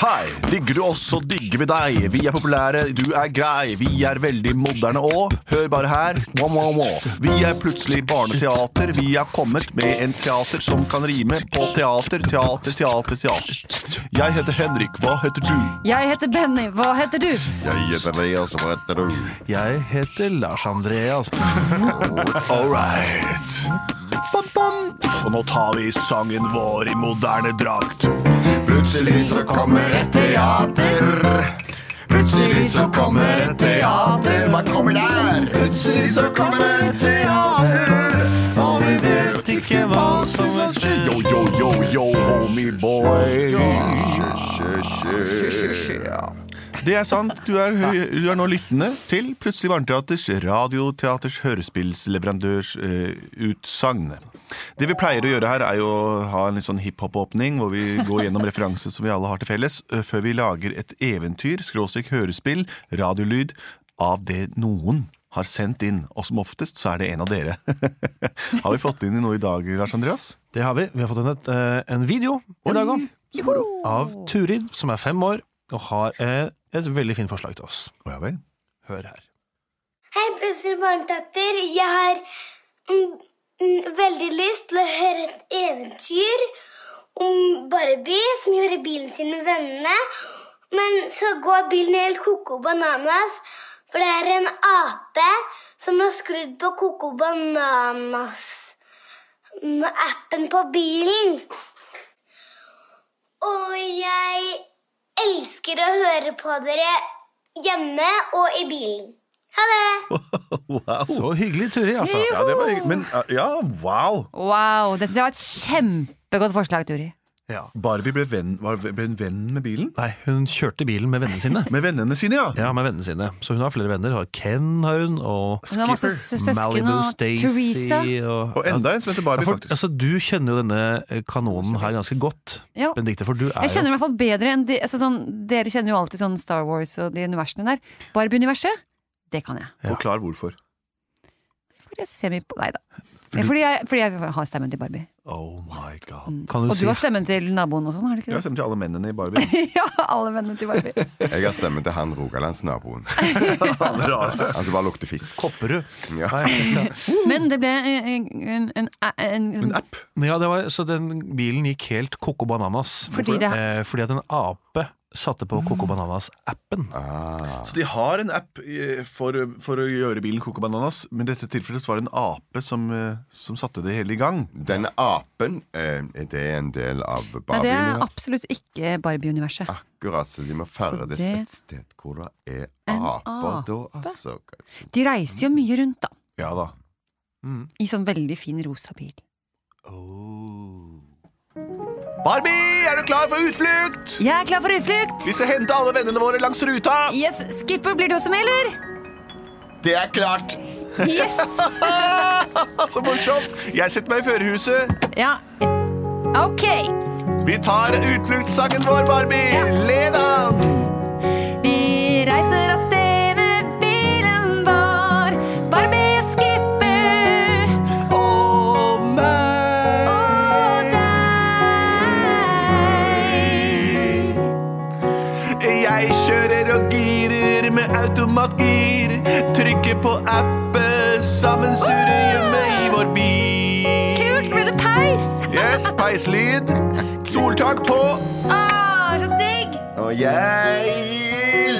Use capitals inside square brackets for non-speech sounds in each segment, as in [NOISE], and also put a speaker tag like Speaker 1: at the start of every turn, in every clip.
Speaker 1: Hei, digger du oss, så digger vi deg. Vi er populære, du er grei. Vi er veldig moderne òg. Hør bare her. Wow, wow, wow. Vi er plutselig barneteater. Vi har kommet med en teater som kan rime på teater, teater, teater, teater. Jeg heter Henrik, hva heter du?
Speaker 2: Jeg heter Benny, hva heter du?
Speaker 1: Jeg heter Andreas, hva heter du?
Speaker 3: Jeg heter Lars Andreas.
Speaker 1: All right. Bom, bom. Og nå tar vi sangen vår i moderne drakt. Plutselig så kommer et teater. Plutselig så kommer et teater. Hva kommer der? Plutselig så kommer et teater. Og vi vet ikke hva som vil skje. Yo, yo, yo, yo, homie boy.
Speaker 4: Det er sant. Du er, du er nå lyttende til Plutselig Barneteaters radioteaters hørespillsleverandørsutsagn. det vi pleier å gjøre her, er jo å ha en litt sånn hiphop-åpning, hvor vi går gjennom referanser som vi alle har til felles, eh, før vi lager et eventyr, skråstrek hørespill, radiolyd, av det noen har sendt inn. Og som oftest så er det en av dere. [LAUGHS] har vi fått inn noe i dag, Lars Andreas?
Speaker 3: Det har vi. Vi har fått inn et, eh, en video i dag også, av Turid, som er fem år, og har eh, et veldig fint forslag til oss.
Speaker 4: Å ja vel.
Speaker 3: Hør her.
Speaker 5: Hei, Bussel Barnetatter. Jeg har mm, mm, veldig lyst til å høre et eventyr om Barbie som gjorde bilen sin med vennene. Men så går bilen helt koko bananas, for det er en ape som har skrudd på koko bananas-appen på bilen. Og jeg elsker å høre på dere hjemme og i bilen. Ha det!
Speaker 2: Oh.
Speaker 4: Wow.
Speaker 3: Så hyggelig, Turid, altså.
Speaker 4: Ja, det var, men, ja, wow!
Speaker 2: Wow, det synes jeg var et kjempegodt forslag, Turi.
Speaker 3: Ja.
Speaker 4: Barbie ble, venn, var, ble en venn med bilen?
Speaker 3: Nei, hun kjørte bilen med vennene
Speaker 2: [LAUGHS]
Speaker 3: sine.
Speaker 4: Med vennene sine, ja.
Speaker 3: Ja, med vennene sine. Så hun har flere venner. Har Ken har hun, og
Speaker 2: Hun har masse sø- søsken
Speaker 3: Malibu,
Speaker 2: og
Speaker 3: Stacy
Speaker 2: Teresa.
Speaker 3: og,
Speaker 4: Og enda en som heter Barbie,
Speaker 3: Ja, for,
Speaker 4: faktisk.
Speaker 3: altså, du kjenner jo denne eh, kanonen her ganske godt,
Speaker 2: Ja.
Speaker 3: Benedikte, for du er
Speaker 2: Jeg kjenner i
Speaker 3: jo
Speaker 2: hvert fall bedre enn de, altså sånn, Dere kjenner jo alltid sånn Star Wars og de universene der. Barbie-universet, det kan jeg.
Speaker 4: Forklar hvorfor.
Speaker 2: Fordi jeg ser mye på Nei da. Fordi jeg, fordi jeg har stemmen til Barbie.
Speaker 4: Oh my god.
Speaker 3: Kan du
Speaker 2: Og
Speaker 3: si-
Speaker 2: du har stemmen til naboen og sånn, har du
Speaker 4: Jeg
Speaker 2: ikke
Speaker 4: har
Speaker 2: det?
Speaker 4: stemt til alle mennene i Barbie.
Speaker 2: [LAUGHS] Ja, alle vennene til Barbie.
Speaker 6: Jeg har stemmen til han rogalandsnaboen. Han som bare lukter fisk.
Speaker 3: Kopperud.
Speaker 6: Ja.
Speaker 3: Nei, ja.
Speaker 2: Men det ble en, en, en, en, en
Speaker 4: En app.
Speaker 3: Men Ja, det var, så den bilen gikk helt Coco Bananas.
Speaker 2: Fordi det-
Speaker 3: eh, fordi at en ape satte på Coco Bananas-appen.
Speaker 6: Ah,
Speaker 4: Så de har en app eh, for, for å gjøre bilen Coco Bananas, men i dette tilfellet så var det en ape som, eh, som satte det hele i gang.
Speaker 6: Denne apen, eh, det er en del av
Speaker 2: Nei, det er
Speaker 6: Barbie-universet.
Speaker 2: absolutt ikke Barbie-universet.
Speaker 6: Akkurat, så de må ferdes
Speaker 2: det-
Speaker 6: et sted hvor det er
Speaker 2: En
Speaker 6: aper, da,
Speaker 2: ape?
Speaker 6: altså.
Speaker 2: De reiser jo mye rundt, da.
Speaker 4: Ja da.
Speaker 2: I sånn veldig fin rosa bil.
Speaker 4: Barbie, er du klar for utflukt?
Speaker 2: Jeg er klar for utflukt!
Speaker 4: Vi skal hente alle vennene våre langs ruta.
Speaker 2: Yes, Skipper, blir du også med, eller?
Speaker 6: Det er klart!
Speaker 2: Yes!
Speaker 4: Så morsomt. Jeg setter meg i førerhuset.
Speaker 2: Ja. Ok.
Speaker 4: Vi tar utfluktssangen vår, Barbie. Led an.
Speaker 2: Vi reiser av sted med bilen vår. Barbie og Skipper
Speaker 4: Og meg.
Speaker 2: og deg.
Speaker 4: Jeg kjører og girer med automatgir. Trykker på appen, sammen surrer hjemme i vår bil.
Speaker 2: Kult, blir det peis?
Speaker 4: Yes, peislyd. Soltak på.
Speaker 2: Ah, så digg!
Speaker 6: Og jeg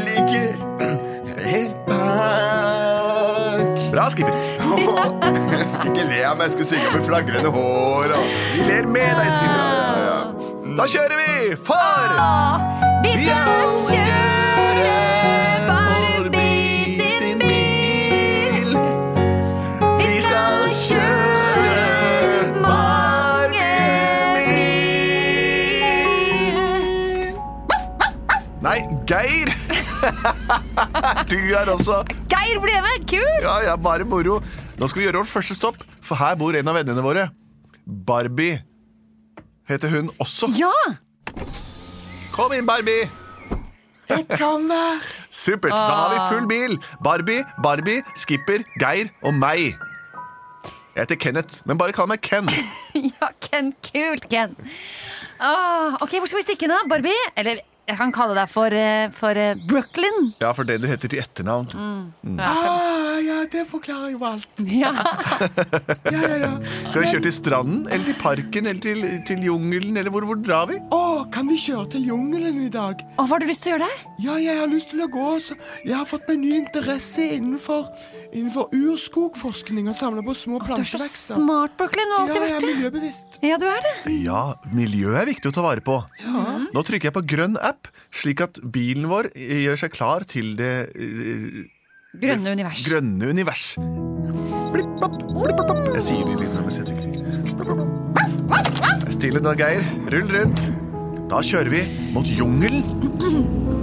Speaker 6: ligger helt bak
Speaker 4: Bra, skipper.
Speaker 6: Ikke le av meg, jeg skal synge med flagrende hår. Og...
Speaker 4: Vi [LAUGHS] ler med deg, skipper.
Speaker 6: Ja, ja.
Speaker 4: Da kjører vi, for
Speaker 2: Ah, Vi skal kjøre Barbie sin bil.
Speaker 4: Vi skal kjøre Geir! [LAUGHS] Du er også
Speaker 2: Geir ble med! Kult!
Speaker 4: Ja, ja, bare moro. Nå skal vi gjøre vårt første stopp, for her bor en av vennene våre. Barbie heter hun også.
Speaker 2: Ja!
Speaker 7: Kom inn, Barbie!
Speaker 4: [LAUGHS] Supert! Da har vi full bil. Barbie, Barbie, Skipper, Geir og meg. Jeg heter Kenneth, men bare kall meg Ken.
Speaker 2: [LAUGHS] ja Ken, kult, Ken. Åh, ok, Hvor skal vi stikke nå, Barbie? Eller jeg kan kalle deg for, eh, for eh, Brooklyn.
Speaker 4: Ja, for det du heter til etternavn. Ah, ja, det forklarer jo alt.
Speaker 2: Ja.
Speaker 4: Skal vi kjøre til stranden, eller til parken, eller til, til jungelen, eller hvor, hvor drar vi?
Speaker 8: Å, kan vi kjøre til jungelen i dag?
Speaker 2: [LAUGHS] Og hva har du lyst til å gjøre der?
Speaker 8: Ja, jeg har lyst til å gå. Så jeg har fått meg ny interesse innenfor, innenfor urskogforskning og samle på små
Speaker 2: Du er så
Speaker 8: plantevekster.
Speaker 2: smart, Brooklyn. Du har alltid
Speaker 8: Ja, jeg er
Speaker 2: vært det.
Speaker 8: miljøbevisst.
Speaker 2: Ja, du er det.
Speaker 4: Ja, miljøet er viktig å ta vare på. Nå trykker jeg på grønn app, slik at bilen vår gjør seg klar til det eh,
Speaker 2: Grønne univers.
Speaker 4: grønne univers. Blipp, blopp, blipp, blopp, blopp. Jeg sier de lydene mens jeg trykker. Blipp, blopp. Det er Stille nå, Geir. Rull rundt. Da kjører vi mot jungelen.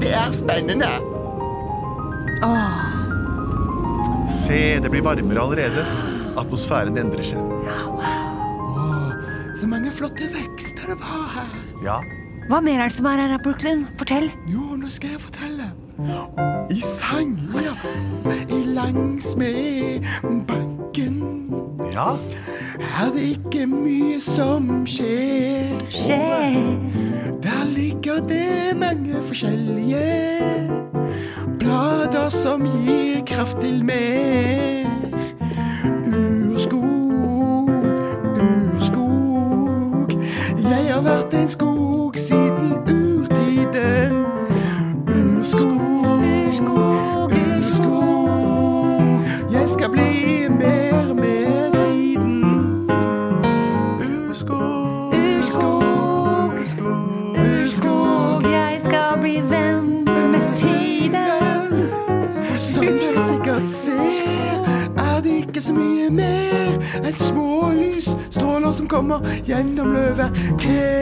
Speaker 8: Det er spennende.
Speaker 4: Se, det blir varmere allerede. Atmosfæren endrer seg.
Speaker 8: Så mange flotte vekster det var her.
Speaker 4: Ja,
Speaker 2: Hva mer er det som er her, Brooklyn? Fortell.
Speaker 8: Jo, nå skal jeg fortelle. I sanger langs med bakken
Speaker 4: ja.
Speaker 8: er det ikke mye som skjer. Der ligger det mange forskjellige blader som gir kraft til mer. Urskog, urskog. Jeg har vært en skog siden urtiden. Urskog, urskog, urskog. Jeg skal bli mer med tiden. Urskog.
Speaker 2: Urskog, urskog, jeg skal bli venn med tiden.
Speaker 8: Som dere Sånn sikkert ser, er det ikke så mye mer enn små lysstråler som kommer gjennom løvet. Ke-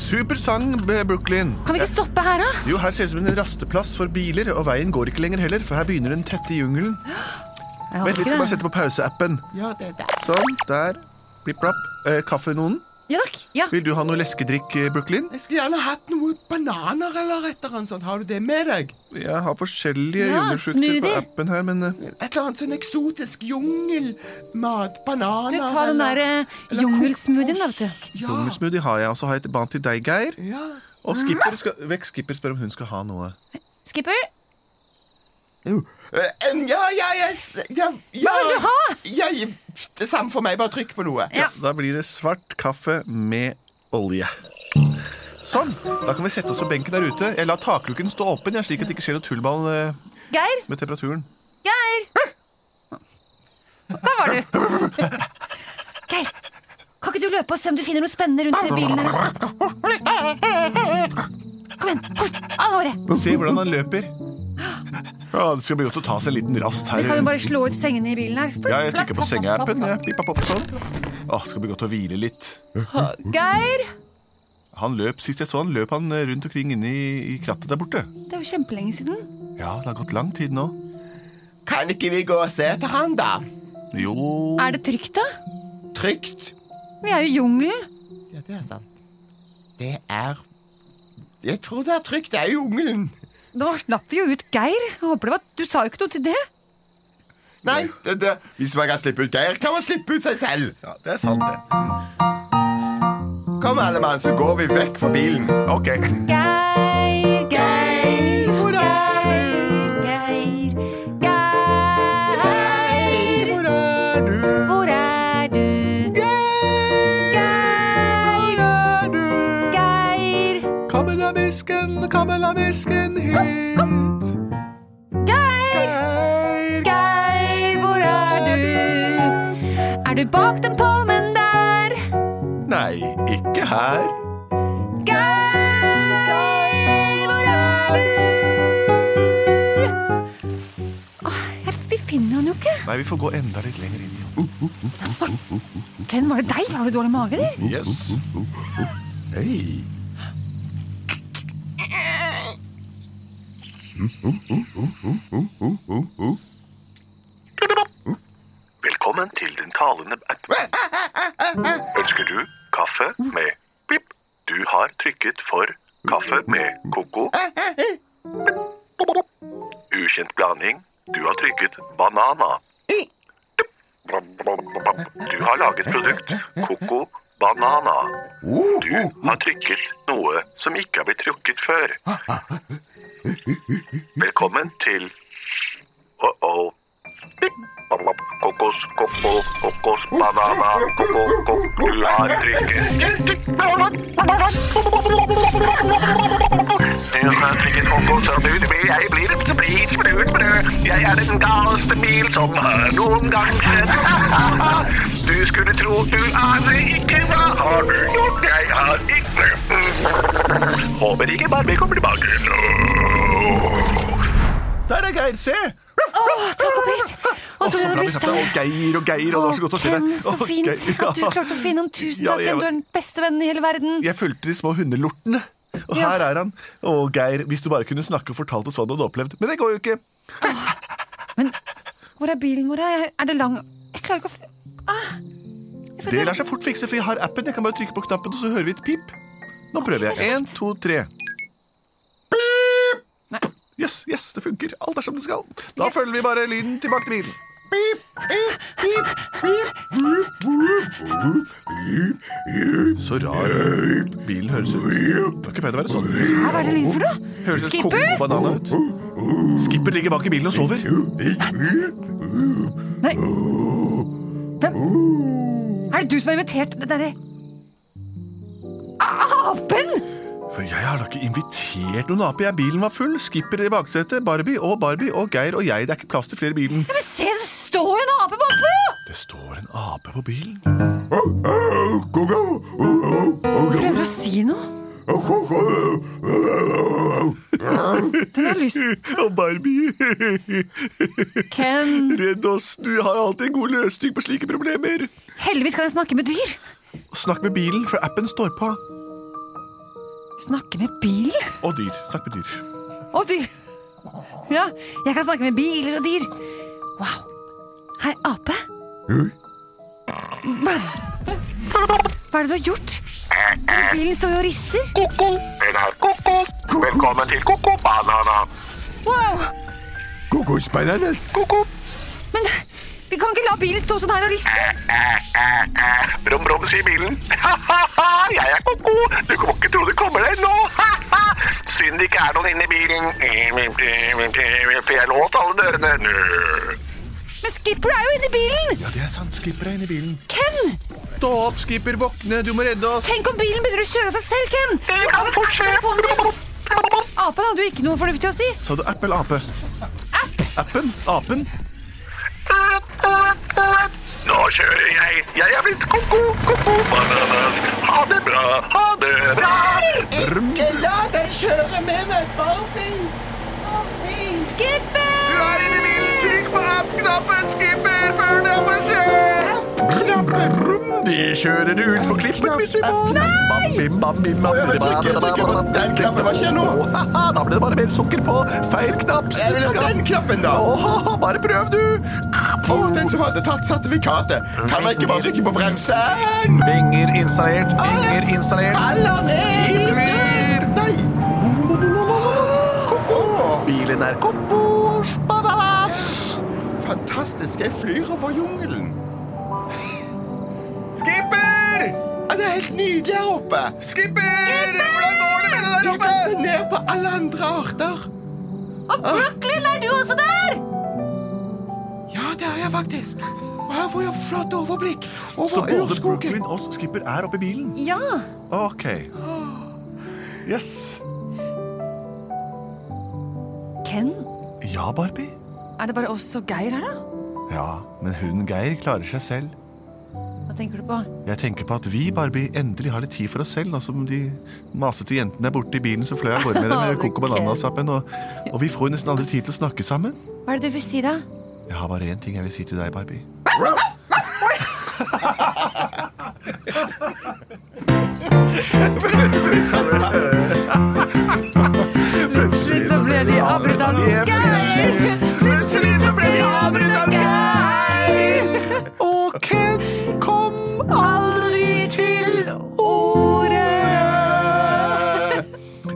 Speaker 4: Super sang, B- Brooklyn.
Speaker 2: Kan vi ikke stoppe her, da?
Speaker 4: Jo, her ser det ut som en rasteplass for biler, og veien går ikke lenger heller, for her begynner den tette jungelen.
Speaker 2: Jeg
Speaker 4: Vent
Speaker 2: håper
Speaker 4: litt, skal bare
Speaker 2: ikke det.
Speaker 4: sette på pauseappen.
Speaker 8: Ja, det der.
Speaker 4: Sånn, der. Blipp-blapp. Eh, kaffe, noen?
Speaker 2: Ja takk. Ja.
Speaker 4: Vil du ha noe leskedrikk, eh, Brooklyn?
Speaker 8: Jeg skulle gjerne hatt noe bananer eller et eller annet sånt. Har du det med deg?
Speaker 4: Jeg har forskjellige
Speaker 2: Ja,
Speaker 4: jungelfrukter på
Speaker 2: smoothie.
Speaker 4: appen her, men eh,
Speaker 8: Et eller annet sånn eksotisk jungelmat. Bananer
Speaker 2: Du tar den
Speaker 8: eller-
Speaker 2: der eh,
Speaker 8: eller
Speaker 2: jungelsmoothien, da,
Speaker 8: kokos.
Speaker 2: vet du.
Speaker 8: Ja.
Speaker 4: jungelsmoothie har jeg, og så har jeg et bant til deg, Geir.
Speaker 8: ja.
Speaker 4: Og
Speaker 2: Mm.
Speaker 4: Skipper, skal, vekk Skipper spør om hun skal ha noe.
Speaker 2: Skipper?
Speaker 8: Eh, em, ja, ja, jeg s- ja, ja.
Speaker 2: vil du ha?
Speaker 8: Jeg, det samme for meg, bare trykk på noe.
Speaker 2: Ja.
Speaker 4: Da blir det svart kaffe med olje. Sånn. Da kan vi sette oss på benken der ute. Jeg lar takluken stå åpen, jeg, slik at det ikke skjer noe tullball eh,
Speaker 2: Geir?
Speaker 4: med temperaturen.
Speaker 2: Geir! Der var du. Geir, kan ikke du løpe og se om du finner noe spennende rundt i bilen? her? Kom igjen. Hort, Av håret.
Speaker 4: Se hvordan han løper. Ja, det skal bli godt å ta seg en liten rast her.
Speaker 2: Vi kan jo bare slå ut sengene i bilen her.
Speaker 4: Ja, jeg trykker på sengeappen. Ja. Pippa popp, sånn. Å, skal bli godt å hvile litt.
Speaker 2: Geir!
Speaker 4: Han løp, Sist jeg så han løp han eh, rundt omkring inne i, i krattet der borte.
Speaker 2: Det er jo kjempelenge siden.
Speaker 4: Ja, det har gått lang tid nå.
Speaker 8: Kan ikke vi gå og se etter han, da?
Speaker 4: Jo
Speaker 2: Er det trygt, da?
Speaker 8: Trygt.
Speaker 2: Vi er jo i jungelen.
Speaker 8: Ja, det er sant. Det er Jeg tror det er trygt. Det er jungelen.
Speaker 2: Nå slapp vi jo ut Geir. Jeg håper det var Du sa jo ikke noe til det.
Speaker 8: Nei, det, det. hvis man kan slippe ut Geir, kan man slippe ut seg selv.
Speaker 4: Ja, det er sant, det.
Speaker 8: Kom, alle mann, så går vi vekk fra bilen.
Speaker 4: Ok.
Speaker 2: Geir, Geir,
Speaker 8: Hvor er
Speaker 2: Geir, Geir.
Speaker 8: Hvor er du?
Speaker 2: Hvor er du? Geir,
Speaker 4: Er du
Speaker 2: Geir,
Speaker 4: Kamelabisken, kamelabisken hit?
Speaker 2: Geir,
Speaker 4: Geir,
Speaker 2: Geir, hvor er du? Er du bak den palmen der?
Speaker 4: Nei, ikke her.
Speaker 2: Geir, hvor er du? Åh, jeg- Vi finner han jo ikke.
Speaker 4: Nei, vi får gå enda litt lenger inn. i
Speaker 2: Ken, var det deg? Har du dårlig mage, eller?
Speaker 4: den. Yes.
Speaker 8: Hei.
Speaker 1: Velkommen til din talende app. Ønsker du kaffe med pip? Du har trykket for kaffe med koko. Ukjent blanding. Du har trykket banana. Du har laget produkt koko banana. Du har trykket noe som ikke har blitt trukket før. Velkommen til Uh-oh. Kokos, koko, kokos, banana, koko, koko, du har trykket. Du har trykket kokos, og du blir, jeg blir en blir sprut brød. Jeg er den galeste bil som har noen gang sett. [LAUGHS] Du skulle tro du aner ikke hva har du gjort, jeg har ikke. [LAUGHS] Håper ikke Barbie kommer tilbake.
Speaker 4: Der er Geir, se!
Speaker 2: Åh, takk og pris!
Speaker 4: Å,
Speaker 2: Å, tror du
Speaker 4: så bra
Speaker 2: jeg hadde
Speaker 4: vi
Speaker 2: blitt
Speaker 4: traff deg. Å,
Speaker 2: der?
Speaker 4: Geir og Geir, og det var så godt å se deg.
Speaker 2: Ken, så
Speaker 4: Å,
Speaker 2: fint
Speaker 4: Geir,
Speaker 2: at du
Speaker 4: ja.
Speaker 2: klarte å finne ham. Tusen
Speaker 4: Ja,
Speaker 2: takk,
Speaker 4: jeg-
Speaker 2: Ken. Du er den beste vennen i hele verden.
Speaker 4: Jeg fulgte de små hundelortene. Og
Speaker 2: Ja.
Speaker 4: her er han. Å, Geir, hvis du bare kunne snakke og fortalt oss hva du hadde opplevd. Men det går jo ikke.
Speaker 2: Hvor er bilen vår? Er- Er det lang Jeg klarer ikke å f... Ah. Jeg sånn- følte-
Speaker 4: Det lar seg fort fikse, for jeg har appen. Jeg kan bare trykke på knappen, og så hører vi et pip. Nå prøver jeg. En, to, tre.
Speaker 2: Nei.
Speaker 4: Pip! Yes, yes, det funker. Alt er som det skal. Da følger vi bare lyden tilbake til bilen. Så rar bilen høres ut. Det har ikke pleid å være sånn.
Speaker 2: Hæ, Hva er det lyd for noe?
Speaker 4: Høres ut som
Speaker 2: Skipper?
Speaker 4: koko og banan ut. Skipper ligger bak i bilen og sover.
Speaker 2: Nei. Hvem? Er det du som har invitert den derre Apen!
Speaker 4: For jeg har da ikke invitert noen ape. Jeg, bilen var full. Skipper i baksetet, Barbie og Barbie og Geir og jeg. Det er ikke plass til flere i bilen.
Speaker 2: Ja, Men se, det står jo en ape bakpå!
Speaker 4: Det står en ape på bilen. [LAUGHS]
Speaker 2: Prøver å si noe. Den har lyst
Speaker 4: [LAUGHS] Og Barbie, [LAUGHS]
Speaker 2: Ken.
Speaker 4: redd oss. Du har alltid en god løsning på slike problemer.
Speaker 2: Heldigvis kan jeg snakke med dyr.
Speaker 4: Snakk med bilen, for appen står på.
Speaker 2: Snakke med bil
Speaker 4: Og dyr. Snakk med dyr.
Speaker 2: og dyr. Ja, jeg kan snakke med biler og dyr. Wow. Hei, ape. Hva Hva er det du har gjort? Bilen står jo og rister.
Speaker 1: Den har koko. Velkommen til koko banana.
Speaker 2: Wow.
Speaker 6: Kokosbananas!
Speaker 1: Koko.
Speaker 2: Men vi kan ikke la bilen stå sånn her og riste.
Speaker 1: Brum, brum, Eh, sier bilen. [LAUGHS] Jeg er koko. Du kan ikke tro det kommer deg nå. Synd det ikke er noen inne i bilen. For jeg låste alle dørene.
Speaker 2: Men Skipper er jo inni bilen!
Speaker 4: Ja, det er sant. Skipper er inne i bilen.
Speaker 2: Ken!
Speaker 4: Stå opp, Skipper. Våkne. Du må redde oss.
Speaker 2: Tenk om bilen begynner å kjøre seg selv, Ken!
Speaker 1: Det kan fort skje.
Speaker 2: Telefonen din. Apen hadde jo ikke noe fornuftig å si.
Speaker 4: Sa du app eller ape? Appen? Apen?
Speaker 1: Nå kjører jeg. Jeg er blitt koko, koko bananas. Ha det bra, ha det bra.
Speaker 8: Ikke la den kjøre med meg, Barbie! Barbie!
Speaker 2: Skipper!
Speaker 1: Du er inne i bilen. Trykk på app-knappen, skipper, før det får skje.
Speaker 4: Brum, de kjører ut for klippen, Missimo.
Speaker 1: Den knappen, hva skjer nå?
Speaker 4: Da ble det bare mer sukker på. Feil knapp.
Speaker 8: Jeg vil ha den knappen, da!
Speaker 4: Åh, bare prøv, du.
Speaker 8: Å, den som hadde tatt sertifikatet!
Speaker 4: Mm.
Speaker 8: Kan man ikke bare trykke på bremsen?
Speaker 4: Vinger installert. Vinger installert.
Speaker 8: Faller ned! i
Speaker 4: Flyr!
Speaker 8: død! Nei! Koko!
Speaker 4: Bilen er kopos.
Speaker 8: Fantastisk, jeg flyr over jungelen.
Speaker 4: Skipper!
Speaker 8: Ja, det er helt nydelig her oppe.
Speaker 4: Skipper! Hvordan går det med deg der
Speaker 8: Jeg
Speaker 4: oppe?
Speaker 8: kan se ned på alle andre arter.
Speaker 2: Og Brooklyn, er du også der?
Speaker 8: Ja, det er jeg faktisk. Og her får jeg flott overblikk
Speaker 4: Så
Speaker 8: over
Speaker 4: både
Speaker 8: urskogen.
Speaker 4: Brooklyn og Skipper er oppe i bilen?
Speaker 2: Ja.
Speaker 4: Ok. Yes.
Speaker 2: Ken,
Speaker 4: Ja, Barbie.
Speaker 2: er det bare oss og Geir her, da?
Speaker 4: Ja, men hunden Geir klarer seg selv.
Speaker 2: Hva tenker du på?
Speaker 4: Jeg tenker på at vi, Barbie, endelig har litt tid for oss selv, nå som de masete jentene er borte i bilen som fløy av gårde med dem med
Speaker 2: Ok.
Speaker 4: Coco Bananas-appen, og, og vi får jo nesten aldri tid til å snakke sammen.
Speaker 2: Hva er det du vil si, da?
Speaker 4: Jeg har bare én ting jeg vil si til deg, Barbie.
Speaker 2: Plutselig så ble de avbrutt av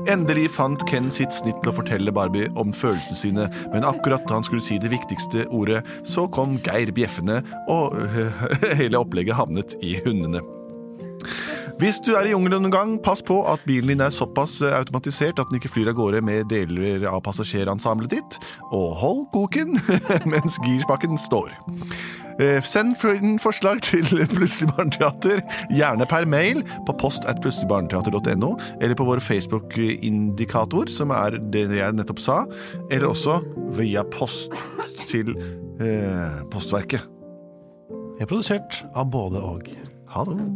Speaker 4: Endelig fant Ken sitt snitt til å fortelle Barbie om følelsene sine, men akkurat da han skulle si det viktigste ordet, så kom Geir bjeffende, og [LAUGHS] hele opplegget havnet i hundene. Hvis du er i jungelen noen gang, pass på at bilen din er såpass eh, automatisert at den ikke flyr av gårde med deler av passasjerensemblet ditt, og hold koken [LAUGHS] mens girspaken står. Eh, Send for- forslag til Plutselig barneteater, gjerne per mail, på post at plutseligbarneteater.no, eller på vår Facebook-indikator, som er det jeg nettopp sa, eller også via post til eh, Postverket.
Speaker 3: Vi er produsert av både og.
Speaker 4: Ha det.